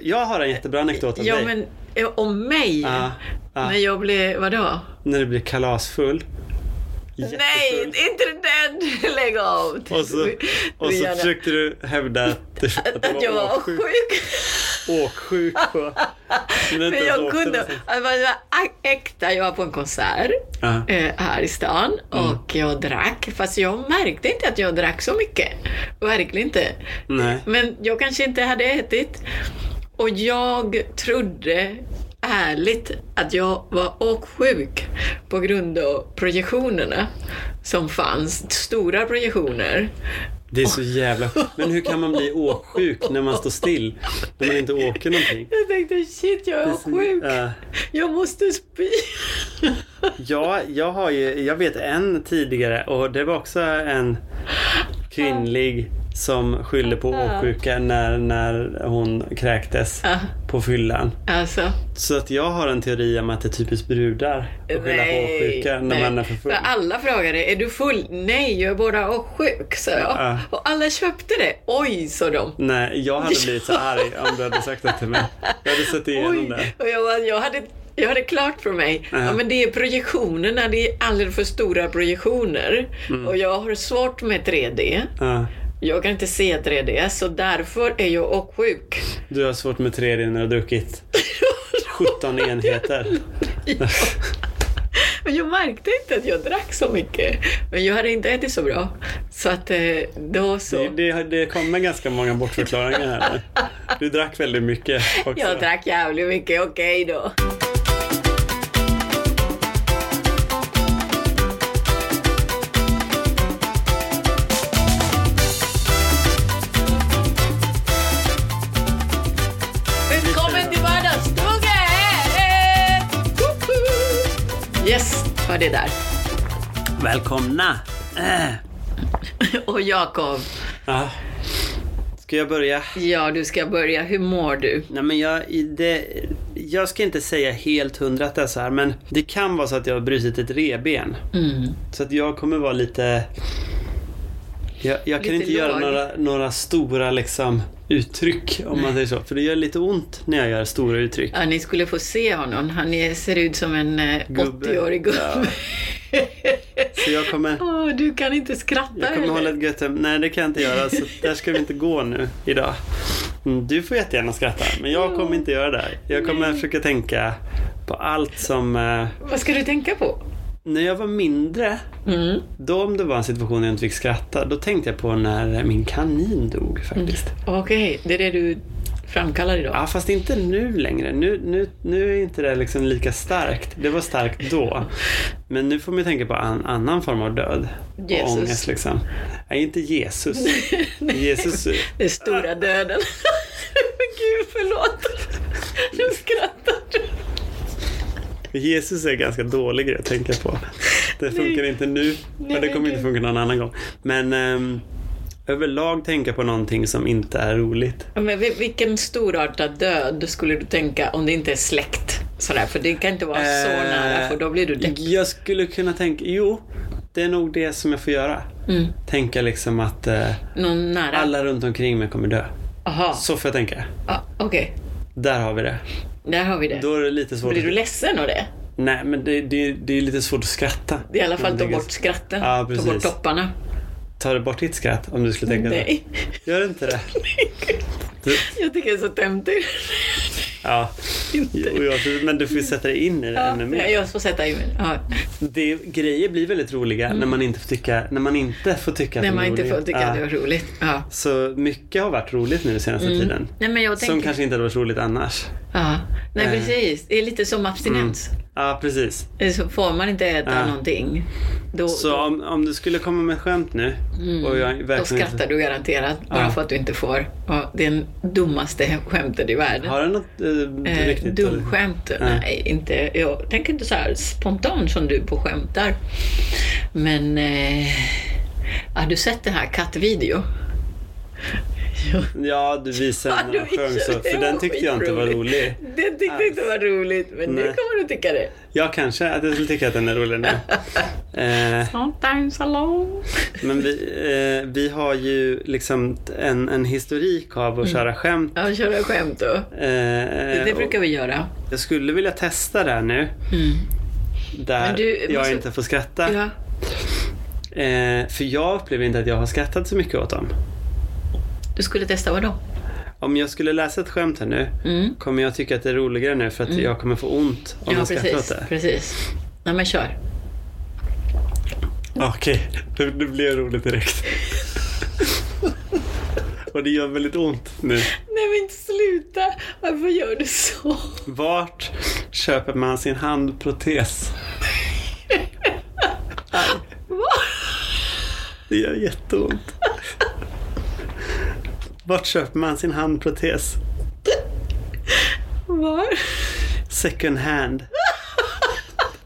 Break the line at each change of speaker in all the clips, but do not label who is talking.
Jag har en jättebra anekdot om
Ja
dig.
men eh, om mig?
Ja, ja.
När jag blev, vadå?
När du blir kalasfull.
Nej,
Jättefull.
inte den! Lägg av!
Och så, och
Du
så
gör det.
försökte du hävda att du, att du
Att jag var
åksjuk-
sjuk.
åksjuk. Och, men
Men jag kunde,
alltså.
det var det var äkta, jag var på en konsert
Ja. Mm.
eh, här i stan och jag drack, fast jag märkte inte att jag drack så mycket. Verkligen inte.
Nej.
Men jag kanske inte hade ätit. Och jag trodde ärligt att jag var åksjuk på grund av projektionerna som fanns, stora projektioner.
Det är så jävla sjukt. Men hur kan man bli åksjuk när man står still? När man inte åker någonting?
Jag tänkte shit, jag är åksjuk.
Ja.
Jag måste spy.
Ja, jag har ju, jag vet en tidigare och det var också en kvinnlig som skyllde på åksjuka när, när hon kräktes
Ja,
på fyllan.
alltså.
Så att jag har en teori om att det är typiskt brudar att skylla på åksjuka när man är för full.
Alla frågade, är du full? Nej, jag är bara åksjuk, sa jag.
Ja.
Och alla köpte det. Oj, sa de.
Nej, jag hade blivit så arg om du hade sagt det till mig. Jag hade sett igenom det.
Oj. Och jag, var, jag, hade, jag hade klart för mig.
Ja.
Ja, men det är projektionerna, det är alldeles för stora projektioner.
Mm.
Och jag har svårt med 3D.
Ja.
Jag kan inte se 3D, så därför är jag åksjuk.
Du har svårt med 3D när du har druckit 17 enheter.
Men jag märkte inte att jag drack så mycket. Men jag hade inte ätit så bra. Så att eh, då så.
Det, det, det kommer ganska många bortförklaringar här. Du drack väldigt mycket också.
Jag drack jävligt mycket, okej då. Välkommen till vardagsstugan! Woho! Yes, var det där.
Välkomna! Äh.
Och Jakob,
Ja. Ska jag börja?
ja du ska börja. Hur mår du?
Nej, men jag, i det, jag ska inte säga helt hundra att det är så här, men det kan vara så att jag har brutit ett revben.
Mm.
Så att jag kommer vara lite... Jag, jag kan
Lite
inte göra
låg.
några, några stora liksom, uttryck om man säger så. För det gör lite ont när jag gör stora uttryck.
Ja, ni skulle få se honom. Han är, ser ut som en eh,
Gubbe.
80-årig gubbe.
Så jag kommer,
Åh, du kan inte skratta
jag kommer
eller?
hålla ett gött hem. Nej, det kan jag inte göra. Så där ska vi inte gå nu idag. Mm, Du får jättegärna skratta, men jag kommer inte göra det. Jag kommer försöka tänka på allt som... eh,
Vad ska du tänka på?
När jag var mindre,
Mm.
då om det var en situation där jag inte fick skratta, då tänkte jag på när min kanin dog faktiskt.
Mm. Okej, det är det du framkallar idag?
Ja, fast inte nu längre. Nu, nu, nu är inte det liksom lika starkt. Det var starkt då. Men nu får man ju tänka på en annan form av död. Och
Jesus.
ångest liksom. Nej, inte Jesus. Jesus.
Den stora döden. Men gud, förlåt. Nu skrattar du.
Jesus är ganska dålig grej att tänka på. Det funkar inte nu och det
men
kommer inte
gud.
funka någon annan gång. Men ehm, överlag tänka på någonting som inte är roligt.
Ja, Men vil- vilken storartad död skulle du tänka om det inte är släkt? Sådär, för det kan inte vara så
Eh,
nära, för då blir du däck.
Jag skulle kunna tänka, jo, det är nog det som jag får göra. Tänka liksom att eh,
Mm. Någon nära?
alla runt omkring mig kommer dö.
Aha,
Så får jag tänka.
ja, okej.
Där har vi det.
Där har vi det.
Då är det lite svårt.
Blir du ledsen av det?
Nej, men det, det, det är lite svårt att skratta.
Det är I alla fall ta
Någonting-
bort skratten.
Ja,
ta bort
precis.
topparna.
Tar du bort ditt skratt om du skulle tänka
Nej,
så? Gör inte det?
jag tycker det är så töntigt.
Ja.
Inte.
Jo, jag- men du får ju sätta dig in i det
Ja,
ännu mer.
jag får sätta i mig. Ja.
Det, grejer blir väldigt roliga när man inte får tycka, när man inte får tycka att
Mm. När
de är
man inte
roliga.
får tycka
Ja.
att det var roligt. Ja. Mm.
Så mycket har varit roligt nu den senaste tiden.
Nej, men jag
Som
tänker-
kanske inte hade varit roligt annars.
Ja. Nej,
Eh. Mm.
precis. Det är lite som abstinens. Eh,
Ja, precis.
Så får man inte äta
Ja.
någonting, då,
Ah.
mm.
Så om, om du skulle komma med ett skämt nu och jag
då
verkligen
skrattar du garanterat bara
Ja.
för att du inte får. Ja, det är den dummaste skämtet i världen.
Har du något eh,
Eh,
riktigt dåligt?
Dumskämt? Nej, inte. Jag tänker inte så här spontant som du på skämtar. Men... Eh, har du sett den här kattvideo?
Ja, du visade
du
när han sjöng så.
visade, det
För den
var
tyckte jag inte var
skitroligt.
rolig.
Det tyckte jag inte var roligt, men nu
Nej.
kommer du tycka det.
Jag kanske att jag skulle tycka att den är rolig nu. Eh,
Sometimes alone.
men vi, eh, vi har ju liksom en, en historik av att köra skämt.
Ja, köra skämt då.
Eh, eh,
Mm. Det
och
brukar vi göra.
Jag skulle vilja testa det här nu. Där
Men du
jag
måste-
inte får skratta.
Ja.
Eh, för jag upplever inte att jag har skrattat så mycket åt dem.
Du skulle testa vadå?
Om jag skulle läsa ett skämt här nu
Mm.
kommer jag tycka att det är roligare nu för att jag kommer få ont om
ja,
jag skrattar åt
precis.
det.
precis. Nej, men kör.
Okej, det, det blev roligt direkt. Och det gör väldigt ont nu.
Nej, men sluta. Varför gör du så?
Vart köper man sin handprotes? Det gör jätteont. Vart köper man sin handprotes?
Var?
Second hand.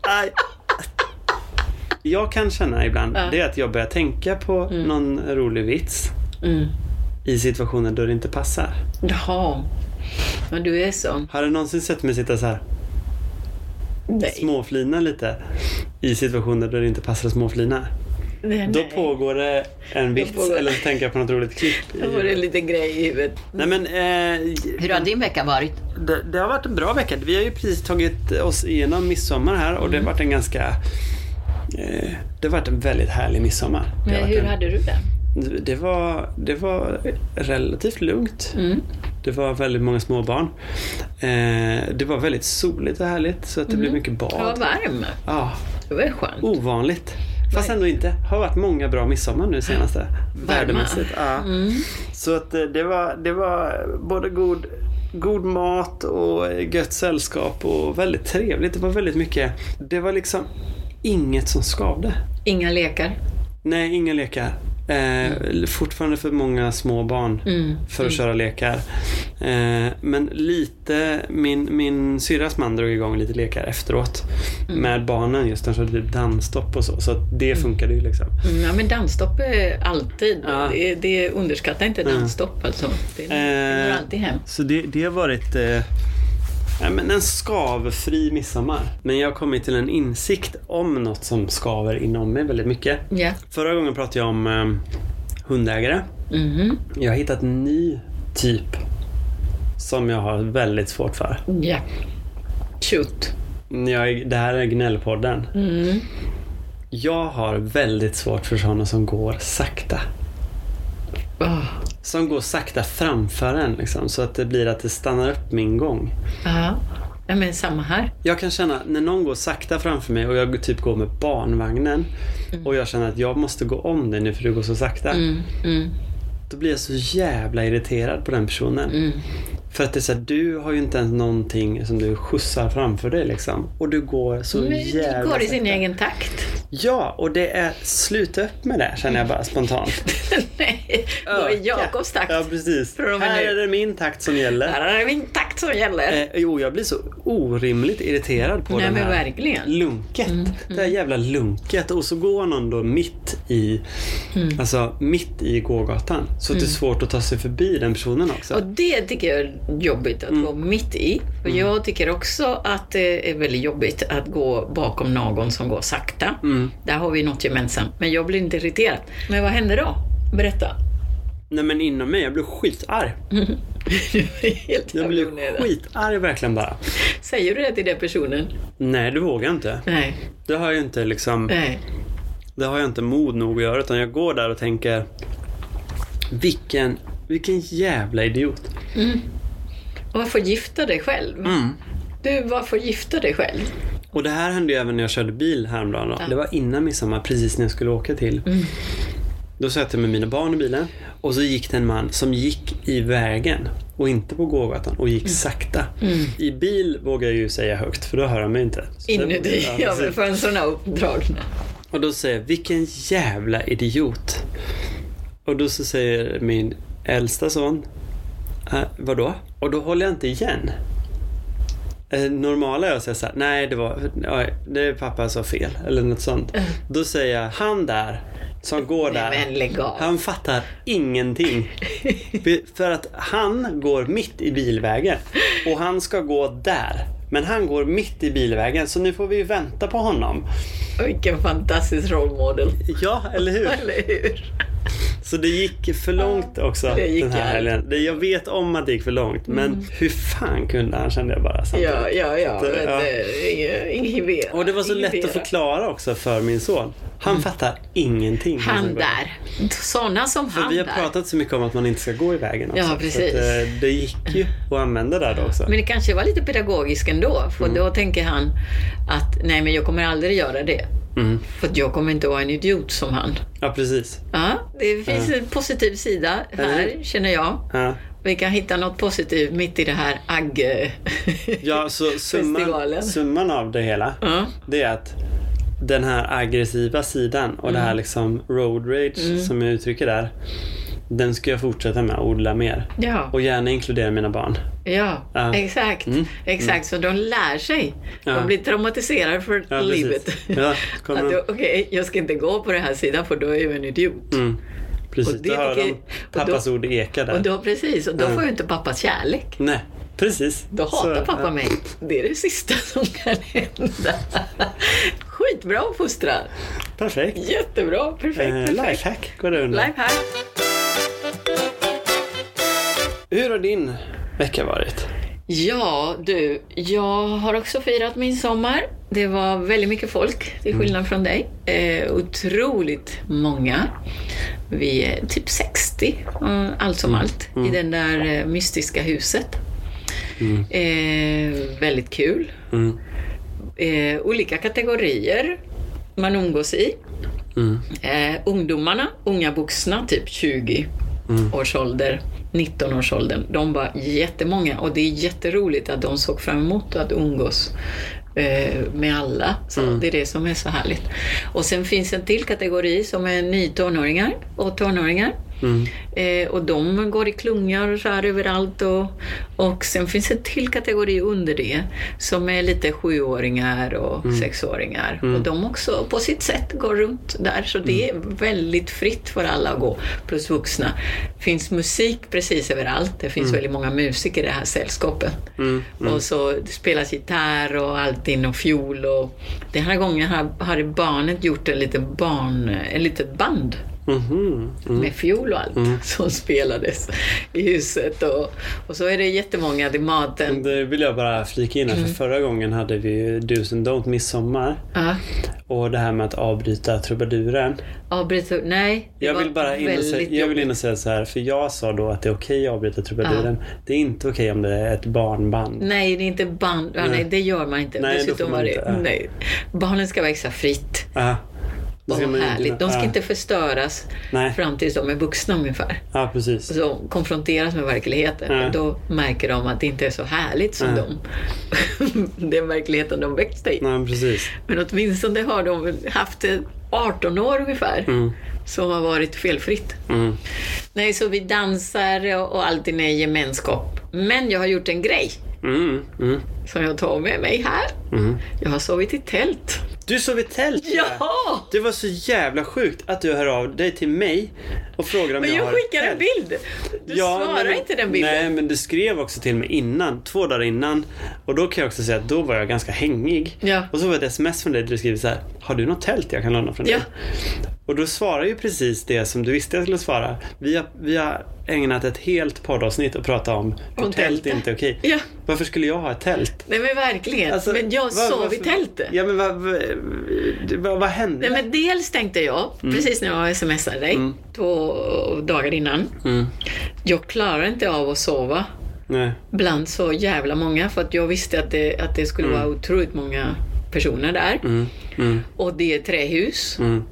Aj. Jag kan känna ibland
Ja.
det är att jag börjar tänka på någon rolig vits
Mm.
i situationer då det inte passar.
Jaha. Men du är så.
Har du någonsin sett mig sitta så här
Nej.
småflina lite i situationer där det inte passar att småflina?
Nej,
Då
nej.
pågår det en vits
pågår-
eller så tänker jag på något roligt klipp. i-
Då var det en liten grej i huvudet.
Nej men eh,
Hur har din vecka varit?
det, det har varit en bra vecka. Vi har ju precis tagit oss igenom midsommar här och det
Mm.
har varit en ganska eh, det har varit en väldigt härlig midsommar. Det har
Men
varit
hur
en-
hade du det?
Det var, det var relativt lugnt.
Mm.
Det var väldigt många småbarn. Eh, det var väldigt soligt och härligt så att det blev mycket
Jag var
bad. Oh,
varm.
Ja,
Det var skönt.
ovanligt. Fast ändå inte. Har varit många bra midsommar nu senaste. Värdemässigt. Ja.
Mm.
Så att eh, det var, det var både god, god mat och eh, gött sällskap och väldigt trevligt. Det var väldigt mycket. Det var liksom inget som skavde.
Inga lekar.
Nej, inga lekar. Eh, Fortfarande för många små barn
Mm.
för att köra lekar. Eh, men lite, min, min syrras man drog igång lite lekar efteråt
Mm.
med barnen just. De körde typ dansstopp och så. Så att det funkade ju liksom.
Mm, Ja, men dansstopp är alltid.
Ja.
Det, det underskattar inte dansstopp alltså. Det, det går
Eh.
alltid hem.
Så det, det har varit eh, ja, men en skavfri midsommar. Men jag har kommit till en insikt om något som skaver inom mig väldigt mycket.
Ja.
Förra gången pratade jag om eh, hundägare.
Mhm.
Jag har hittat en ny typ som jag har väldigt svårt för.
Ja. Shoot.
Jag, är- det här är Gnällpodden.
Mm.
Jag har väldigt svårt för sådana som går sakta.
Oh.
Som går sakta framför en liksom, så att det blir att det stannar upp min gång.
Ja. ja, men samma här.
Jag kan känna när någon går sakta framför mig och jag typ går med barnvagnen och jag känner att jag måste gå om dig nu för du går så sakta.
Mm. Mm.
Då blir jag så jävla irriterad på den personen.
Mm.
För att det är så här, du har ju inte ens någonting som du skjutsar framför dig liksom. Och du går så
Men
jävla
Det Mm. går i
sakta.
sin egen takt.
Ja, och det är slut upp med det känner jag bara spontant.
Nej, går i Jakobs takt.
Ja, precis.
Från och med
Här
nu.
är det min takt som gäller.
Här är det min takt som gäller.
Eh, jo, jag blir så orimligt irriterad på
Nej,
den
men
här
verkligen.
lunket. Det här jävla lunket. Och så går någon då mitt i, alltså mitt i gågatan. Så att det är svårt att ta sig förbi den personen också.
Och det tycker jag är jobbigt att
Mm.
gå mitt i. Och jag tycker också att det är väldigt jobbigt att gå bakom någon som går sakta.
Mm.
Där har vi något gemensamt. Men jag blir inte irriterad. Men vad hände då? Berätta.
Nej men inom mig, jag blir skitarg.
Helt
Jag
blir
blir skitarg verkligen bara.
Säger du det till den personen?
Nej, det vågar jag inte.
Nej.
Det har jag inte liksom...
Nej.
Det har jag inte mod nog att göra utan jag går där och tänker vilken, vilken jävla idiot.
Och varför gifta dig själv? Du, varför gifta dig själv?
Och det här hände ju även när jag körde bil häromdagen. Då. Det var innan midsommar, precis när jag skulle åka till.
Mm.
Då satt jag med mina barn i bilen och så gick det en man som gick i vägen och inte på gågatan och gick
Mm.
sakta. I bil vågar jag ju säga högt för då hör han mig inte. Så
Inuti,
det-
ja,
precis.
för en sån här uppdrag.
Och då säger jag, vilken jävla idiot. Och då så säger min äldsta son, äh, vadå? Och då håller jag inte igen. Eh, Normala jag säger så här, nej det var, oj, det är pappa som sa fel eller något sånt. Då säger jag, han där som går där.
Mm. Nej, men lägg av.
Han fattar ingenting. För- För att han går mitt i bilvägen. Och han ska gå där. Men han går mitt i bilvägen, så nu får vi ju vänta på honom.
Vilken fantastisk rollmodell.
Ja, eller hur?
Eller hur?
Så det gick för långt också
Det gick
den här
jävligt. Mm.
helgen. Det- Jag vet om att det gick för långt, men hur fan kunde han kände jag bara samtidigt.
Ja, ja, ja.
Så,
Men,
ja.
eh, inge- Inhibera.
Och det var så lätt
inhibera.
att förklara också för min son. Han fattar ingenting.
Mm.
Alltså,
Han där. Sådana som
För
han
vi har
där.
pratat så mycket om att man inte ska gå i vägen också.
Ja,
Så att,
precis.
eh, det gick ju att använda där också.
Men det kanske var lite pedagogiskt ändå. För
Mm.
då tänker han att nej, men jag kommer aldrig göra det.
Mm.
För att jag kommer inte vara en idiot som han.
Ja, precis.
Ja, det finns en positiv sida här, känner jag.
Ja,
Vi kan hitta något positivt mitt i det här agg...
ja så summan,
Festivalen.
summan av det hela,
Ja.
det är att den här aggressiva sidan och
Mm.
det här liksom road rage som jag uttrycker där, den ska jag fortsätta med och odla mer.
Ja,
Och gärna inkludera mina barn.
ja,
Ja.
exakt.
Mm,
Exakt, så de lär sig.
Ja.
De blir traumatiserade för
Ja, precis.
livet.
Ja, kommer
Att
de-
då, Okej, jag ska inte gå på den här sidan för då är jag en idiot.
Mm. Precis,
Och det
då hör
tycker-
de
och då-
pappas ord eka där.
Och då precis, och då får jag inte pappas kärlek.
Nej, precis.
Då hatar
Så,
pappa
ja.
mig. Det är det sista som kan hända. Skitbra uppfostran.
Perfekt.
Jättebra, perfekt,
Eh,
perfekt.
lifehack går det under.
Lifehack.
Hur har din vecka varit?
Ja, du. Jag har också firat min sommar. Det var väldigt mycket folk, till skillnad från dig. Eh, otroligt många. Vi är typ 60, eh, allt som allt, i det där eh, mystiska huset. Eh, väldigt kul.
Mm.
Eh, olika kategorier man umgås i.
Mm.
Eh, ungdomarna, unga vuxna, typ 20 års ålder, 19 års åldern, de var jättemånga och det är jätteroligt att de såg fram emot att umgås eh, med alla. Så Det är det som är så härligt. Och sen finns en till kategori som är nytonåringar och tonåringar.
Mm.
Eh, och de går i klungor och så här överallt. Och, och sen finns en till kategori under det som är lite sjuåringar och sexåringar. Och de också på sitt sätt går runt där. Så det är väldigt fritt för alla att gå, plus vuxna. finns musik precis överallt. Det finns väldigt många musiker i det här sällskapet.
mm,
Och så det spelas gitarr och allting och fiol. Och den här gången har, har barnet gjort en liten barn, en litet band
Mhm.
med fiol och allt
Mm.
som spelades i huset. Och, och så är det jättemånga till maten.
mm. Det vill jag bara flika in här,
Mm.
för förra gången hade vi ju Do's and Don't midsommar
Ja.
och det här med att avbryta trubaduren.
Avbryt nej. det
Jag
var
vill bara in och,
väldigt
säga, jag vill in
jobbigt.
och säga så här, för jag sa då att det är okej att avbryta trubaduren. Det är inte okej om det är ett barnband.
Nej, det är inte band. Ja, nej. det gör man inte.
Nej, då får
Dessutom
man
var det.
inte, ja.
Nej. Barnen ska växa fritt.
Ja. Då
Och
ska man ju
härligt. De ska
ja.
inte förstöras
Nej.
fram tills de är vuxna ungefär.
Ja, precis.
Så konfronteras med verkligheten.
Ja.
Då märker de att det inte är så härligt som
Ja.
de. Den verkligheten de växte i.
Nej, precis.
Men åtminstone har de väl haft det 18 år ungefär som har varit felfritt.
Mm.
Nej, så vi dansar och och alltid är i gemenskap. Men jag har gjort en grej
Mm. Mm.
som jag tar med mig här.
Mm.
Jag har sovit i tält.
Du sov i tält! Frida.
Jaha!
Det var så jävla sjukt att du hör av dig till mig och frågar om
Men
jag
jag
har
skickar
tält.
en bild. Du svarar
men-
inte den bilden.
Nej, men du skrev också till mig innan, två dagar innan. Och då kan jag också säga att då var jag ganska hängig.
Ja.
Och så var det ett sms från dig där du skrev så här, har du något tält jag kan låna från dig?
Ja.
Och då svarar ju precis det som du visste jag skulle svara. Vi har, vi har ägnat ett helt poddavsnitt att prata om hur
Om
tält är
tältet.
inte okej.
Ja.
Varför skulle jag ha ett tält?
Nej men verkligen.
Alltså,
men jag
vad-
sov i
varför-
tältet.
Ja, men vad, vad, vad, vad hände?
Nej, men dels tänkte jag,
Mm.
precis när jag smsade dig, två dagar innan.
Mm.
Jag klarar inte av att sova
Nej.
bland så jävla många för att jag visste att det, att det skulle vara otroligt många personer där.
Mm. Mm.
Och det är trähus.
Mm.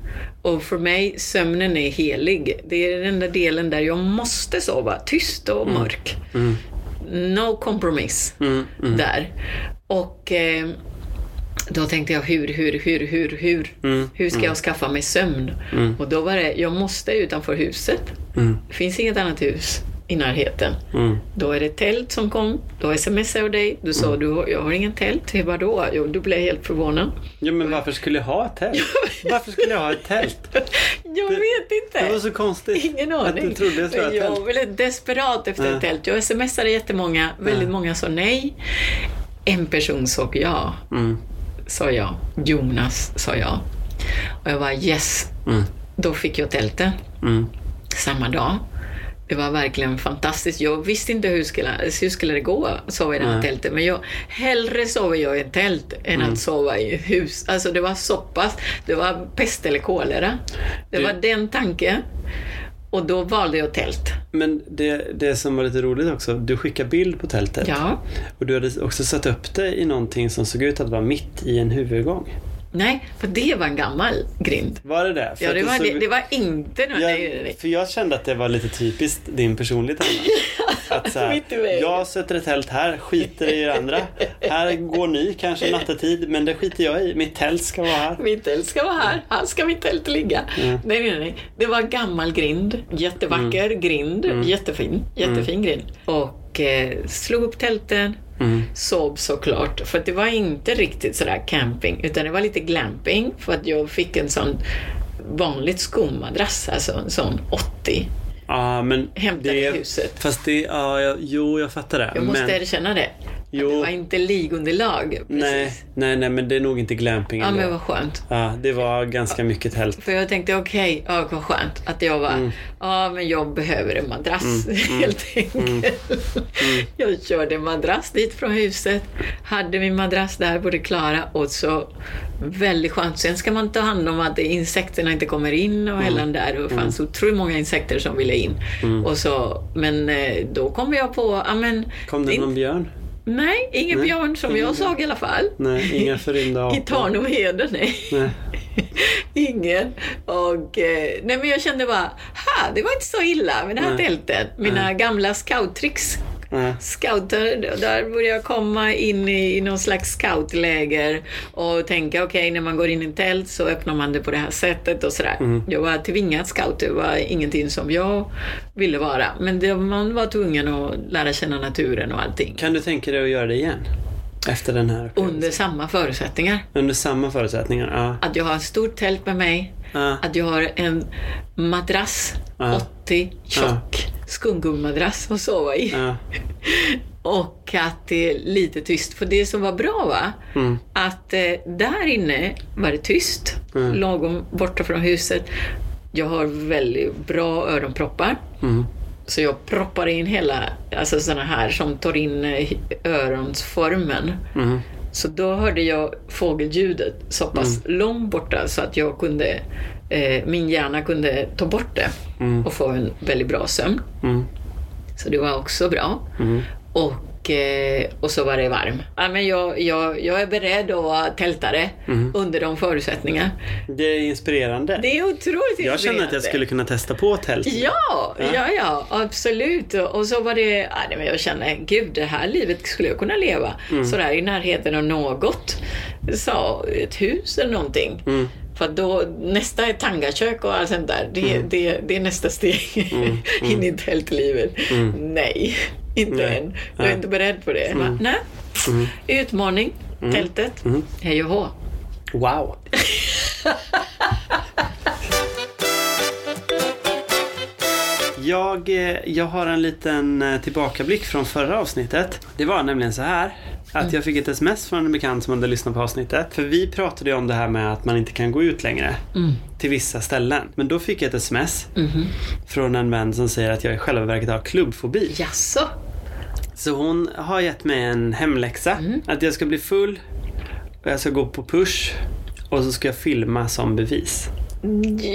Och för mig, sömnen är helig. Det är den där delen där jag måste sova, tyst och mörk.
Mm.
No compromise
Mm. Mm.
där. Och eh, då tänkte jag hur, hur, hur, hur, hur?
Mm.
Hur ska jag skaffa mig sömn? Och då var det, jag måste utanför huset.
Mm.
Det finns inget annat hus. i närheten.
Mm.
Då är det tält som kom. Då smsade jag dig. Du sa du, har- jag har ingen tält. Jag bara, då? Jo, du blev helt förvånad.
Ja, men varför skulle jag ha ett tält? Varför skulle jag ha ett tält?
Jag vet inte.
Det var så konstigt.
Ingen
att
aning.
du trodde jag skulle ha
Men
ett
jag
tält.
var väldigt desperat efter
Ja.
ett tält. Jag smsade jättemånga. Väldigt många sa nej. En person såg ja,
Mm.
sa jag. Jonas sa ja. Och jag var yes.
Mm.
Då fick jag tältet
Mm.
samma dag. Det var verkligen fantastiskt. Jag visste inte hur skulle, hur skulle det gå att sova i det här
Nej. Mm.
tältet. Men jag, hellre sover jag i ett tält än att sova i ett hus. Alltså det var så pass. Det var pest eller kolera. Det
Du-
var den tanken. Och då valde jag tält.
Men det, det som var lite roligt också, du skickade bild på tältet.
Ja.
Och du hade också satt upp det i någonting som såg ut att vara mitt i en huvudgång.
Nej, för det var en gammal grind.
Var det det? För
Ja,
att
det, var,
såg...
det, det var inte någon... nej, nej.
jag, för jag kände att det var lite typiskt din personlighet Anna. Att så här,
Mitt i vägen.
jag sätter ett tält här, skiter i er andra. Här går ni kanske nattetid, men det skiter jag i. Mitt tält ska vara här.
Mitt tält ska vara här, här ska mitt tält ligga.
Mm.
Nej, nej, nej. Det var en gammal grind, jättevacker grind,
Mm.
jättefin, jättefin grind. Och eh, slog upp tälten,
Mm.
sov såklart. För att det var inte riktigt sådär camping, utan det var lite glamping. För att jag fick en sån vanligt skommadrass, alltså en sån 80.
Ja, men
Hämtade
det,
huset.
Fast det, ja, jag, jo jag fattar det.
Jag måste
men,
erkänna det.
Jo.
Att det var inte ligunderlag. Precis.
nej, nej, nej, men det är nog inte glamping
Ja,
ändå.
men vad skönt.
Ja, det var ganska mycket tält.
För jag tänkte okej, ja vad skönt att jag var,
Mm.
ja men jag behöver en madrass helt enkelt.
Mm.
Jag körde en madrass dit från huset, hade min madrass där, borde klara och så väldigt skönt. Sen ska man ta hand om att insekterna inte kommer in
Mm.
och hela den där. Det fanns otroligt många insekter som ville in.
Mm.
Och så, men eh, då kom jag på, ja men
Kom det
det-
någon björn?
nej, ingen
Nej,
björn som
ingen
jag såg i alla fall.
Nej, inga förrymda
I Tanumheden, nej.
Nej.
Ingen. Och, eh, nej men jag kände bara, ha, det var inte så illa med det här
Nej.
tältet. Mina gamla scouttricks.
Nej.
Scouter, där började jag komma in i, i någon slags scoutläger och tänka, okej, när man går in i ett tält så öppnar man det på det här sättet och sådär.
Mm.
Jag var tvingad scout, det var ingenting som jag ville vara. Men det, man var tvungen att lära känna naturen och allting.
Kan du tänka dig att göra det igen? Efter den här upplevelsen?
Under samma förutsättningar.
Under samma förutsättningar? Ja.
Att jag har ett stort tält med mig,
Ja.
att jag har en madrass,
Ja.
80 tjock skumgummimadrass att sova i.
Ja.
Och att det är lite tyst. För det som var bra va,
Mm,
att eh, där inne var det tyst, lagom borta från huset. Jag har väldigt bra öronproppar.
Mm.
Så jag proppar in hela, alltså sådana här som tar in eh, öronsformen.
Mm.
Så då hörde jag fågelljudet så pass långt borta så att jag kunde, eh, min hjärna kunde ta bort det
Mm.
och få en väldigt bra sömn.
Mm.
Så det var också bra.
Mm.
Och, eh, och så var det varm. Ja, men jag, jag, jag är beredd att vara tältare under de förutsättningarna.
Det är inspirerande.
Det är
jag
otroligt
känner att jag
inspirerande.
skulle kunna testa på tält.
Ja, ja, ja, absolut. Och och så var det, ja, nej, men jag kände, gud det här livet skulle jag kunna leva.
Mm.
Sådär i närheten av något. Så, ett hus eller
Mm.
någonting. För att då, nästa är tangakök och allt sånt där. Det,
Mm.
det, det är nästa steg in i tältlivet. Nej, inte
Mm. Nej. Mm.
än. Jag är inte beredd på det. Va? Nej. Utmaning, tältet. Hej och hå.
Wow! Jag, eh, jag har en liten eh, tillbakablick från förra avsnittet. Det var nämligen så här
Mm.
att jag fick ett sms från en bekant som hade lyssnat på avsnittet. För vi pratade ju om det här med att man inte kan gå ut längre till vissa ställen. Men då fick jag ett sms från en vän som säger att jag i själva verket har klubbfobi.
Jaså?
Så hon har gett mig en hemläxa.
Mm.
Att jag ska bli full och jag ska gå på push och så ska jag filma som bevis.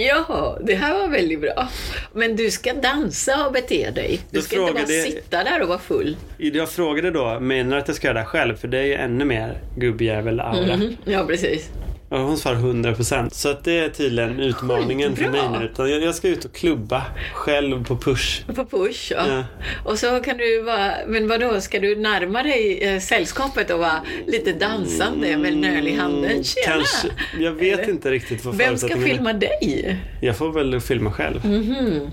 Ja, det här var väldigt bra. Men du ska dansa och bete dig. Du
Då
ska inte bara
frågade jag-
sitta där och vara full.
Jag
Mm.
frågade då, menar du att jag ska göra det här själv? För det är ju ännu mer gubbjävel-aura.
Mhm, Mm-hmm. Ja, precis.
Ja, hon svarar 100 procent. Så att det är tydligen utmaningen för mig
Skitbra.
nu. Utan jag jag ska ut och klubba själv på push.
På push, ja.
Ja.
Och så kan du vara, men vadå, ska du närma dig eh, sällskapet och vara lite dansande med en öl i handen? Tjena!
Mm, Kanske. Jag vet
Eller?
inte riktigt vad
Vem ska
förutsättningarna är.
filma dig?
Jag får väl filma själv.
Mhm.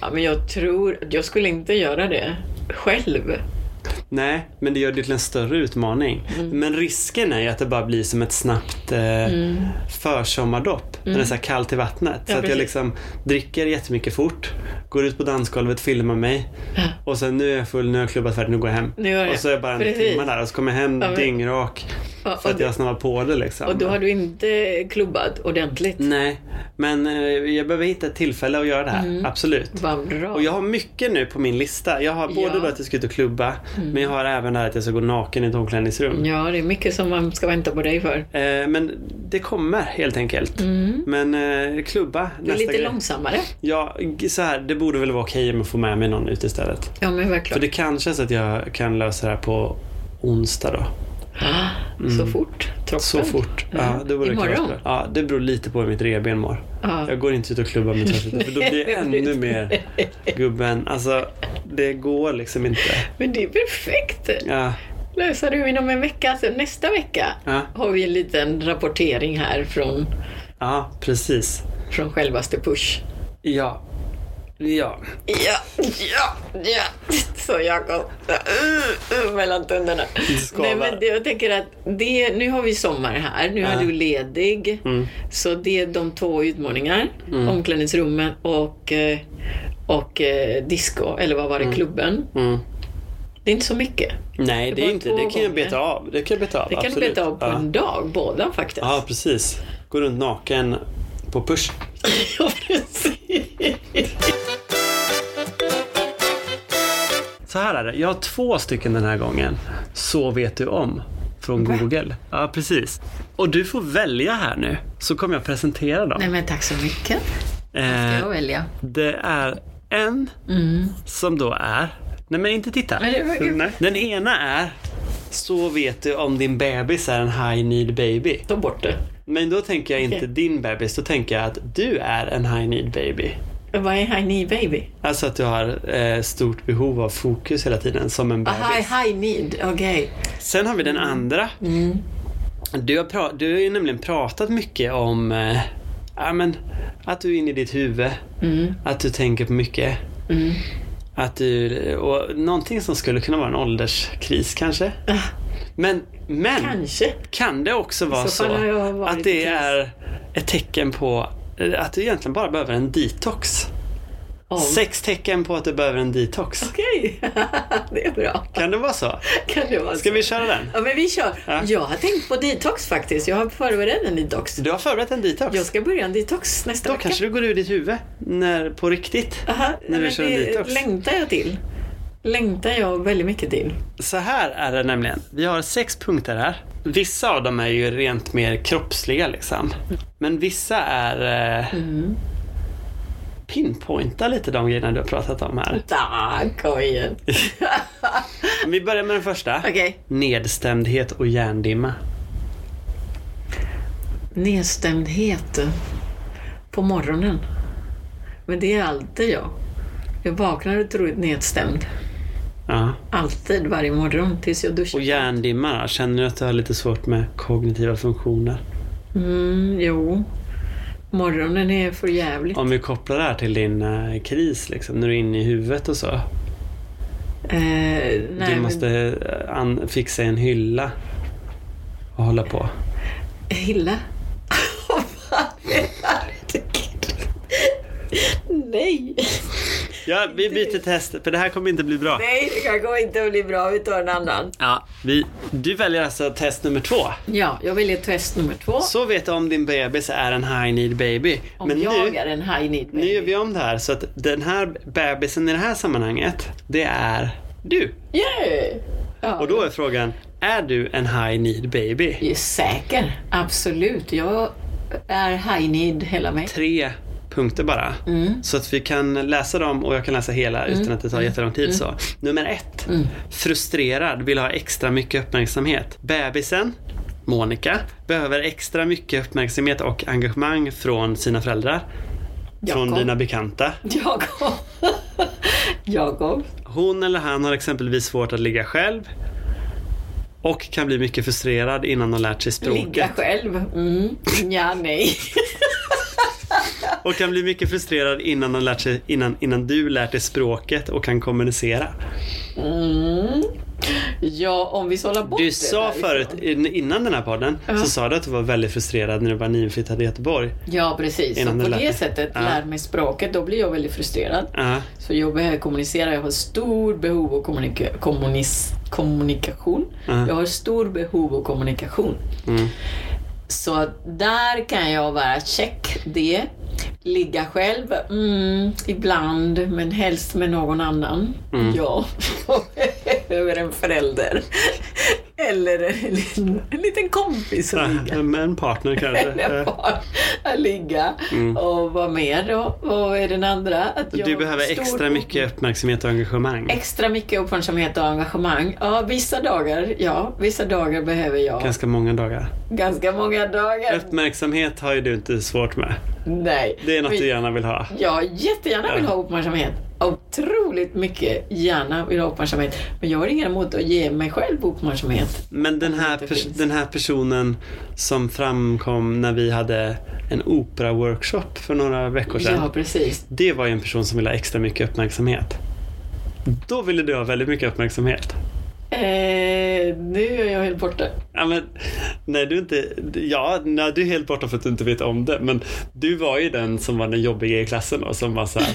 Ja, men jag tror, jag skulle inte göra det själv.
Nej, men det gör det till en större utmaning.
Mm.
Men risken är ju att det bara blir som ett snabbt eh, försommardopp. När det är så här kallt i vattnet.
Mm.
så
Ja,
att jag
precis.
liksom dricker jättemycket fort, går ut på dansgolvet, filmar mig och sen nu är jag full, nu har jag klubbat färdigt, nu går jag hem.
Nu gör
och
jag.
så är jag bara en
Precis.
timme där och så kommer jag hem
Ja, men-
dyngrak
Ja,
för
och
att
det-
jag snabbar på det liksom.
Och då har du inte klubbat ordentligt.
Nej, men eh, jag behöver hitta ett tillfälle att göra det här.
Mm.
Absolut.
Vad bra.
Och jag har mycket nu på min lista. Jag har både
Ja. Mm.
då att jag ska ut och klubba, men jag har även det här att jag ska gå naken i ett omklädningsrum.
Ja, det är mycket som man ska vänta på dig för. Mm.
Eh, men det kommer helt enkelt. Men eh, klubba
Du är
nästa
lite
grej.
långsammare.
Ja, g- så här, det borde väl vara okej om jag får med mig någon ut istället.
Ja, men
För
verkligen.
det kanske är så att jag kan lösa det här på onsdag då.
Ah, Så fort. Troppen.
Mm. Så fort. Ja, det vore
Mm. Imorgon.
klart. Ja, det beror lite på hur mitt revben mår.
Ja.
Jag går inte ut och klubbar med tvärsnittet för då blir jag ännu mer gubben. Alltså, det går liksom inte.
Men det är perfekt.
Ja,
Löser du inom en vecka. Sen nästa vecka
Ja.
har vi en liten rapportering här från,
ja precis.
från självaste push.
Ja. Ja.
Ja, ja, ja. Så Jakob. Uh, uh, mellan tunnorna.
skavar.
Nej, men det, jag tänker att det, nu har vi sommar här. Nu
Ja. Mm.
är du ledig. Så det är de två utmaningar. Omklädningsrummet och, eh, och eh, disco. Eller vad var det? Klubben.
Mm.
Det är inte så mycket.
Nej, det,
bara
är inte,
två
det kan jag
gånger.
beta av. Det kan jag beta av,
Det kan
absolut.
du beta av på
ja.
en dag, båda faktiskt.
ja, precis. Gå runt naken på push.
Ja, precis.
Så här är det, jag har två stycken den här gången. Så vet du om. Från Google. Ja, precis. Och du får välja här nu, så kommer jag presentera dem.
Nej men tack så mycket. Ska
Eh,
jag välja? Mm.
Det är en som då är... Nej men inte titta.
Men det var ju-
Nej. Den ena är Så vet du om din bebis är en high need baby.
Ta bort det.
Men då tänker jag inte
Okej.
din bebis, då tänker jag att du är en high need baby.
Vad är high need baby?
Alltså att du har eh, stort behov av fokus hela tiden som en bebis.
Aha, Ah, Mm. high need, okej.
Sen har vi den andra. Du, har pra- du har ju nämligen pratat mycket om eh, ja, men, att du är inne i ditt huvud.
Mm.
Att du tänker på mycket. Att du, och någonting som skulle kunna vara en ålderskris kanske.
Ah.
Men, men
Kanske.
kan det också vara
I så
så,
fall har jag varit
att
i
det
kris.
är ett tecken på eh, att du egentligen bara behöver en detox?
Om.
Sex tecken på att du behöver en detox.
Okej, det är bra.
Kan det vara så?
Kan det vara
Ska
så?
vi köra den?
Ja men vi kör.
Ja.
Jag har tänkt på detox faktiskt. Jag har förberett en detox.
Du har förberett en detox.
Jag ska börja en detox nästa
Då
vecka.
kanske du går ur ditt huvud när, på riktigt.
Aha,
När vi
nej, men
kör en
det
detox.
längtar jag till. Längtar jag väldigt mycket till.
Så här är det nämligen. Vi har sex punkter här. Vissa av dem är ju rent mer kroppsliga liksom. Men vissa är... Eh, Pinpointa lite de grejerna du har pratat om här.
Da, kom igen.
Om Vi börjar med den första.
Okej.
Nedstämdhet och hjärndimma.
Nedstämdhet på morgonen. Men det är alltid jag. Jag vaknar otroligt nedstämd.
Ja.
Alltid, varje morgon tills jag duschar.
Och hjärndimma då? Känner du att du har lite svårt med kognitiva funktioner?
Mm, jo. Morgonen är för jävligt.
Om vi kopplar det här till din eh, kris liksom, när du är inne i huvudet och så.
Eh, nej,
du
men
måste eh, an- fixa en hylla och hålla på.
Hilla. Vad fan är det? Nej.
Ja, vi byter test för det här kommer inte bli bra.
Nej, det kan gå inte att bli bra. Vi tar en annan.
Ja, vi, du väljer alltså test nummer två.
Ja, jag väljer test nummer två.
Så vet du om din bebis är en high need baby.
Om
Men
jag
nu,
är en high need
nu
baby.
gör vi om det här så att den här bebisen i det här sammanhanget, det är du.
Yay! Ja.
Och då är frågan, är du en high need baby?
Jag är säker, absolut. Jag är high need hela mig.
Tre punkter bara.
Mm.
Så att vi kan läsa dem och jag kan läsa hela utan att det tar jättelång tid.
Mm.
Så. Nummer ett. Frustrerad, vill ha extra mycket uppmärksamhet. Bebisen Monica behöver extra mycket uppmärksamhet och engagemang från sina föräldrar. Från
Jakob.
dina bekanta.
Jakob. Jakob.
Hon eller han har exempelvis svårt att ligga själv och kan bli mycket frustrerad innan de lärt sig
Ligga
språket.
själv. Mm. Ja, nej.
Och kan bli mycket frustrerad innan, de lärt sig, innan, innan du lärt dig språket och kan kommunicera.
Mm. Ja, om vi sållar bort
Du
det
sa
därifrån.
förut, in- innan den här podden, så sa du att du var väldigt frustrerad när du var nyinflyttad i Göteborg.
Ja, precis. Så
Innan du
på
lär
det
dig.
sättet
Ja.
lär mig språket, då blir jag väldigt frustrerad.
Ja,
Så jag behöver kommunicera. Jag har stor behov av kommunika- kommunis- kommunikation.
Ja.
Jag har stor behov av kommunikation.
mm.
Så att där kan jag vara check det. Ligga själv, mm, ibland, men helst med någon annan.
Mm.
Ja, över en förälder. Eller en liten, en liten kompis att ligga.
Ja, Med en partner kanske.
Eller
Ja.
barn att ligga. Och vad mer då? Vad är den andra? Att
Mm. Eh, Du
jag
behöver
står
extra
upp-
mycket uppmärksamhet och engagemang.
Extra mycket uppmärksamhet och engagemang. Ja, vissa dagar, ja, vissa dagar behöver jag.
Ganska många dagar.
Ganska många dagar.
Uppmärksamhet har ju du inte svårt med.
Nej.
Det är något
Men-
du gärna vill ha.
Jag jättegärna vill ha uppmärksamhet. Otroligt mycket gärna vill ha uppmärksamhet. Men jag har inget emot att ge mig själv uppmärksamhet.
Men den här,
inte
pers-
finns.
den här personen som framkom när vi hade en opera-workshop för några veckor sedan.
Ja, precis.
Det var ju en person som ville ha extra mycket uppmärksamhet. Då ville du ha väldigt mycket uppmärksamhet.
Eh, nu är jag helt borta.
Ja, men, nej, du är inte, ja, nej, du är helt borta för att du inte vet om det. Men du var ju den som var den jobbiga i klassen och som var så här,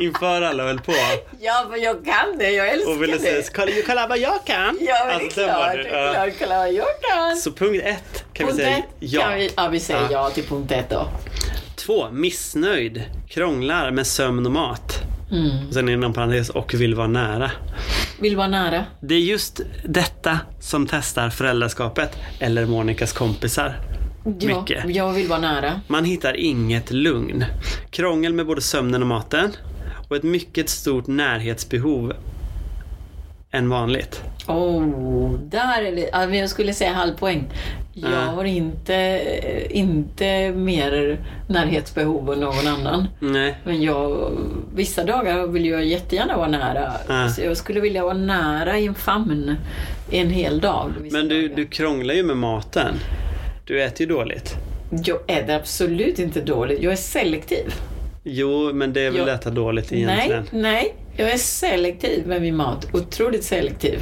inför alla höll på
Ja, för jag kan det. Jag älskar
och ville säga
det.
kolla, kolla vad jag kan.
Ja, men
Alltså,
det
den
är
var
klart.
du,
Det är
ja.
klart, klart jag kan.
Så punkt ett kan
Punkt
vi säga
ett
ja.
Kan vi, ja, vi säger
Ja.
ja. till punkt ett då.
Två, missnöjd, krånglar med sömn och mat.
Mm.
Och sen inom parentes, och vill vara nära.
Vill vara nära.
Det är just detta som testar föräldraskapet eller Monikas kompisar.
Ja,
Mycket.
jag vill vara nära.
Man hittar inget lugn. Krångel med både sömnen och maten och ett mycket stort närhetsbehov än vanligt.
Oh, där är det. ja, men Jag skulle säga halv poäng. Jag
Ja.
har inte, eh, inte mer närhetsbehov än någon annan.
Nej.
Men jag, vissa dagar vill jag jättegärna vara nära.
Ja.
Så jag skulle vilja vara nära i en famn en hel dag. vissa
Men du,
dagar.
du krånglar ju med maten. Du äter ju dåligt.
Jag är det absolut inte dåligt. Jag är selektiv.
Jo, men det är väl
Jag-
äta dåligt
Nej,
egentligen.
nej. Jag är selektiv med min mat. Otroligt selektiv.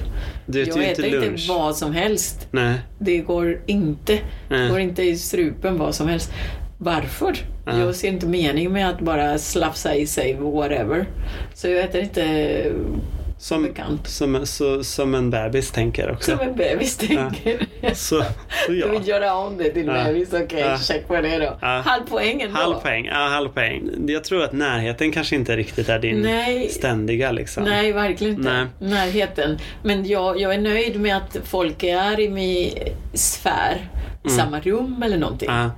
Du äter
jag
ju
äter
inte lunch.
inte vad som helst.
Nej.
Det går inte.
Nej.
Det går inte i strupen vad som helst. Varför?
Ja.
Jag ser inte mening med att bara slafsa i sig whatever. Så jag äter inte
Som,
Bekant.
som, så, som en bebis tänker också.
som en bebis tänker.
Så, så
Du
ja.
vill göra om det till
Ja.
bebis, okej,
Ja.
check på det då.
Ja.
Halv poäng ändå.
Halv poäng. Ja, halv poäng. Jag tror att närheten kanske inte riktigt är din
Nej.
ständiga liksom.
Nej, verkligen inte.
Nej.
Närheten. Men jag, jag är nöjd med att folk är i min sfär, samma rum eller någonting.
Mm. Ja. Mm.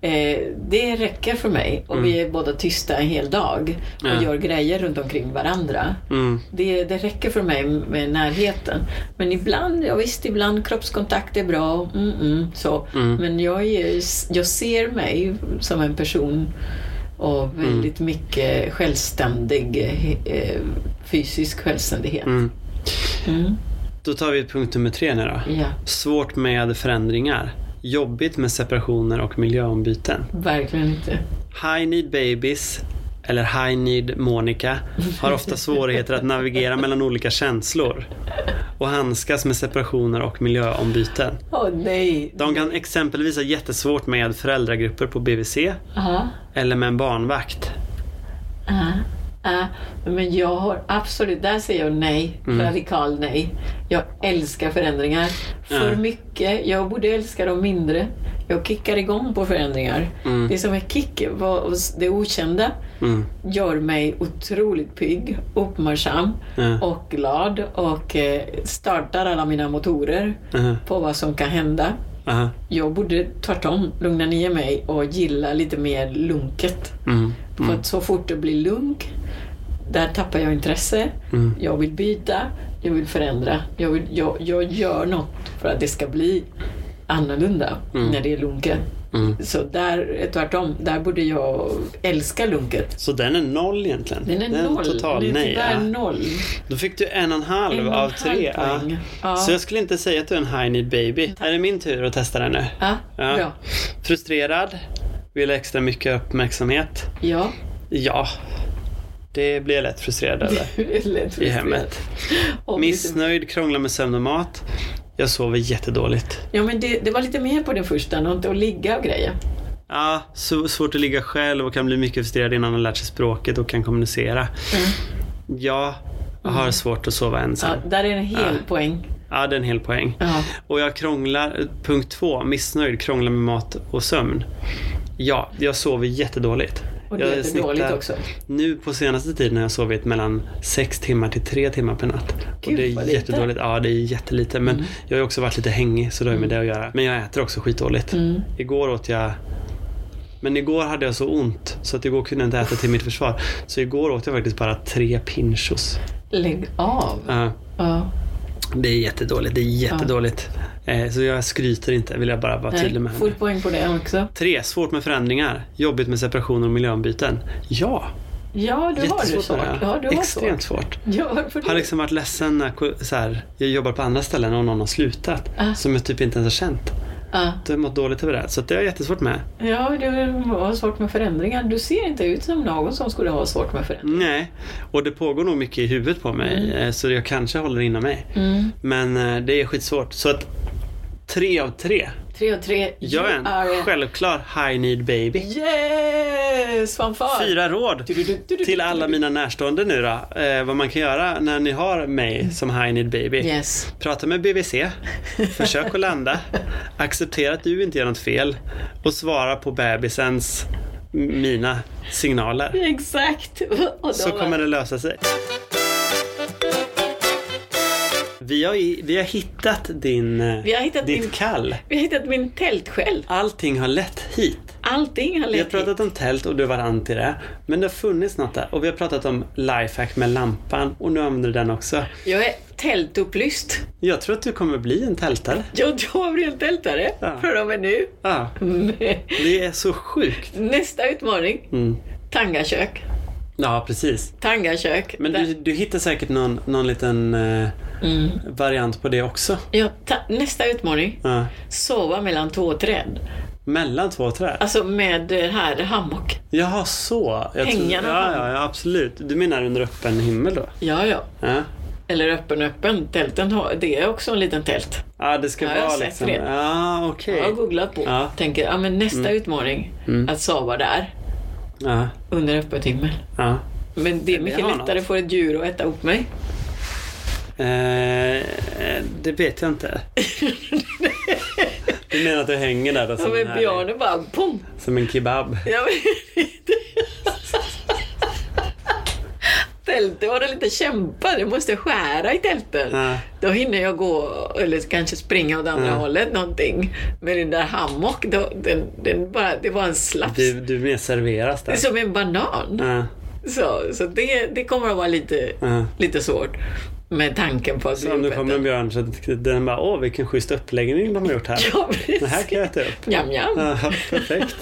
Eh, det räcker för mig. Och vi är båda tysta en hel dag och
Ja.
gör grejer runt omkring varandra.
Mm.
Det, det räcker för mig med närheten. Men ibland, ja visst, ibland kroppskontakt är bra. Mm -mm, så. Men jag, är, jag ser mig som en person av väldigt mycket självständig, eh, eh, fysisk självständighet.
Mm.
Mm,
Då tar vi punkt nummer tre nu då.
ja,
Svårt med förändringar. Jobbigt med separationer och miljöombyten.
verkligen inte.
High Need Babies eller High Need Monica har ofta svårigheter att navigera mellan olika känslor och handskas med separationer och miljöombyten.
Åh nej.
De kan exempelvis ha jättesvårt med föräldragrupper på BVC
Ja,
eller med en barnvakt.
ja, ja. Men jag har absolut, där säger jag nej. Radikal nej. Jag älskar förändringar. För
Ja.
mycket. Jag borde älska dem mindre. Jag kickar igång på förändringar.
Mm.
Det som är kick, vad- det okända,
Mm.
gör mig otroligt pigg, uppmärksam
Ja.
och glad och eh, startar alla mina motorer
Aha,
på vad som kan hända.
aha.
Jag borde tvärtom lugna ner mig och gilla lite mer lunket.
Mm.
För att så fort det blir lunk, där tappar jag intresse.
Mm.
Jag vill byta. jag vill förändra. Jag, vill, jag, jag gör något för att det ska bli annorlunda
Mm.
när det är lunket.
Mm.
Så där, tvärtom, där borde jag älska lunket.
Så den är noll egentligen?
Den är
den
noll.
Total,
det är
nej,
tyvärr
ja.
noll.
Då fick du en och en halv
En och en
av
halv
tre. Ja.
poäng. Ja. Mm.
Så jag skulle inte säga att du är en high need baby. Är det min tur att testa den nu?
Ja,
Ja.
bra.
Frustrerad? Vill ha extra mycket uppmärksamhet?
Ja,
Ja, det blir jag lätt frustrerad över
det lät
i hemmet.
Och lite-
Missnöjd, krånglar med sömn och mat. Jag sover jättedåligt.
Ja, men det, det var lite mer på den första, något inte att ligga och grejer.
Ja, så svårt att ligga själv och kan bli mycket frustrerad innan man lärt sig språket och kan kommunicera.
Mm.
Jag har svårt att sova
Ja,
ensam.
där är en hel
Ja.
poäng.
Ja, det är en hel poäng.
Ja.
Och jag krånglar, punkt två, missnöjd, krånglar med mat och sömn. Ja, jag sover jättedåligt.
Och
jag
det är
snittar-
dåligt också.
Nu på senaste tiden har jag sovit mellan 6 timmar till 3 timmar per natt.
Gud,
och det
vad
är
lite. Mm.
jättedåligt. Ja, det är jättelite. Men jag har ju också varit lite hängig så det har ju med det att göra. Men jag äter också skitdåligt.
Mm.
Igår åt jag men igår hade jag så ont så att igår kunde jag inte äta till mitt försvar. Så igår åt jag faktiskt bara tre pinchos.
Lägg av.
Ja,
Ja.
det är jättedåligt. Det är jättedåligt. Eh, Så jag skryter inte, vill jag bara vara tydlig med.
Nej, full poäng på det också.
Tre, svårt med förändringar. Jobbigt med separationer och miljöombyten. Ja,
Ja, du har det svårt.
med det.
Ja, du har
Extremt
svårt.
svårt.
Ja, varför
Har
det?
liksom varit ledsen när ko- så här, jag jobbar på andra ställen och någon har slutat.
Ah.
Som jag typ inte ens har känt.
Ja.
Då har jag mått dåligt över det. här. Så att det har jag jättesvårt med.
ja, du har svårt med förändringar. Du ser inte ut som någon som skulle ha svårt med förändringar.
Nej, och det pågår nog mycket i huvudet på mig. eh, Så jag kanske håller inom mig.
Mm.
Men eh, det är skitsvårt. Så att tre av tre.
Tre och tre.
Jag är en självklar high need baby.
Yes! Fanfar!
Fyra råd
Du, du, du, du, du,
till
du,
alla
du.
mina närstående nu då. Eh, vad man kan göra när ni har
Mm.
mig som high need baby.
Yes.
Prata med BVC. Försök att landa. Acceptera att du inte gör något fel. Och svara på bebisens, m- mina signaler.
Exakt. Och då
Så kommer det lösa sig. Vi har, i- vi har hittat din, eh,
Vi har hittat
ditt
din-
kall.
Vi har hittat min tältsjäl.
Allting har lett hit.
Allting har
Vi har
lett hit.
pratat om tält och du var anti det. Men det har funnits något där. Och vi har pratat om lifehack med lampan och nu använder du den också.
Jag är tältupplyst.
Jag tror att du kommer bli en tältare.
Jag jag blir en tältare
Ja.
från och med nu.
Ja, det är så sjukt.
Nästa utmaning.
Mm.
Tangakök.
Ja, precis.
Tangakök.
Men
Där-
du, du hittar säkert någon, någon liten eh,
Mm.
variant på det också.
Ja, ta... Nästa utmaning.
Ja.
Sova mellan två träd.
mellan två träd?
Alltså med eh, här hammock.
Jaha, så. Jag tror-
Hängarna.
ja, ja, ja, absolut. Du menar under öppen himmel då?
Ja, ja.
Ja,
Eller öppen, öppen. Tälten har... Det är också en liten tält.
ja det ska
Ja, jag har
vara
sett
liksom...
det.
Ja, okej.
Jag har googlat på.
Ja. Mm.
Tänker, ja men nästa utmaning. Att sova där.
Ja,
Under öppen himmel.
ja.
Men det är mycket
har något.
lättare för ett djur att äta upp mig.
Eh, eh, det vet jag inte. Du menar att du hänger där då,
Ja,
som, en,
men
härlig-
björnen bara pom!
som en kebab?
Ja, men... Tältet var det lite kämpa, det måste skära i tältet.
Ja.
Då hinner jag gå, eller kanske springa åt andra hållet någonting. Men den där hammock, då, den, den bara, det var en slaps.
Du, du mer serveras
Det är
där?
som en banan.
Ja,
Så, så det, det kommer att vara lite,
ja.
lite svårt. Med tanken på att
Så om det kommer en
uppäten.
björn så den bara åh vilken schysst uppläggning de har gjort här.
Ja,
Det här
precis.
kan jag äta upp.
Njam, njam.
Ja, perfekt.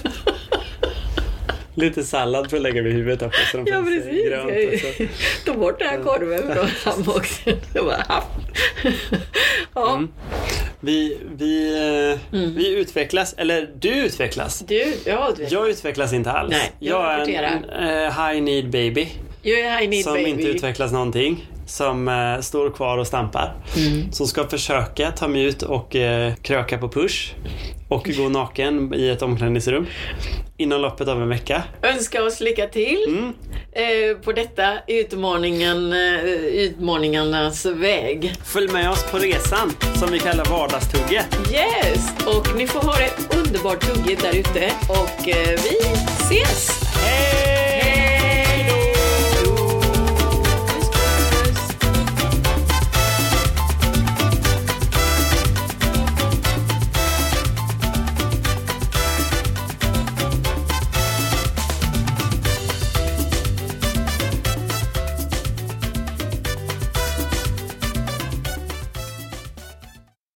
Lite sallad får jag lägga vid huvudet också så de
Ja
får se
precis.
grönt och så.
Ta bort den här korven från hammocken. Så bara, haff. Ja,
Mm. Vi, vi, eh,
Mm.
vi utvecklas, eller du utvecklas.
du, jag vet.
Jag utvecklas inte alls.
Nej, jag
jag är en eh, high need baby
Jag är high need
som
baby.
inte utvecklas någonting. Som eh, står kvar och stampar.
Mm.
Som ska försöka ta mig ut och eh, kröka på push. Och gå naken i ett omklädningsrum. Inom loppet av en vecka.
Önska oss lycka till
Mm.
eh, på detta utmaningen, eh, utmaningarnas väg.
Följ med oss på resan som vi kallar vardagstugget.
Yes! Och ni får ha det underbart tuggigt där ute och eh, vi ses!
Hej!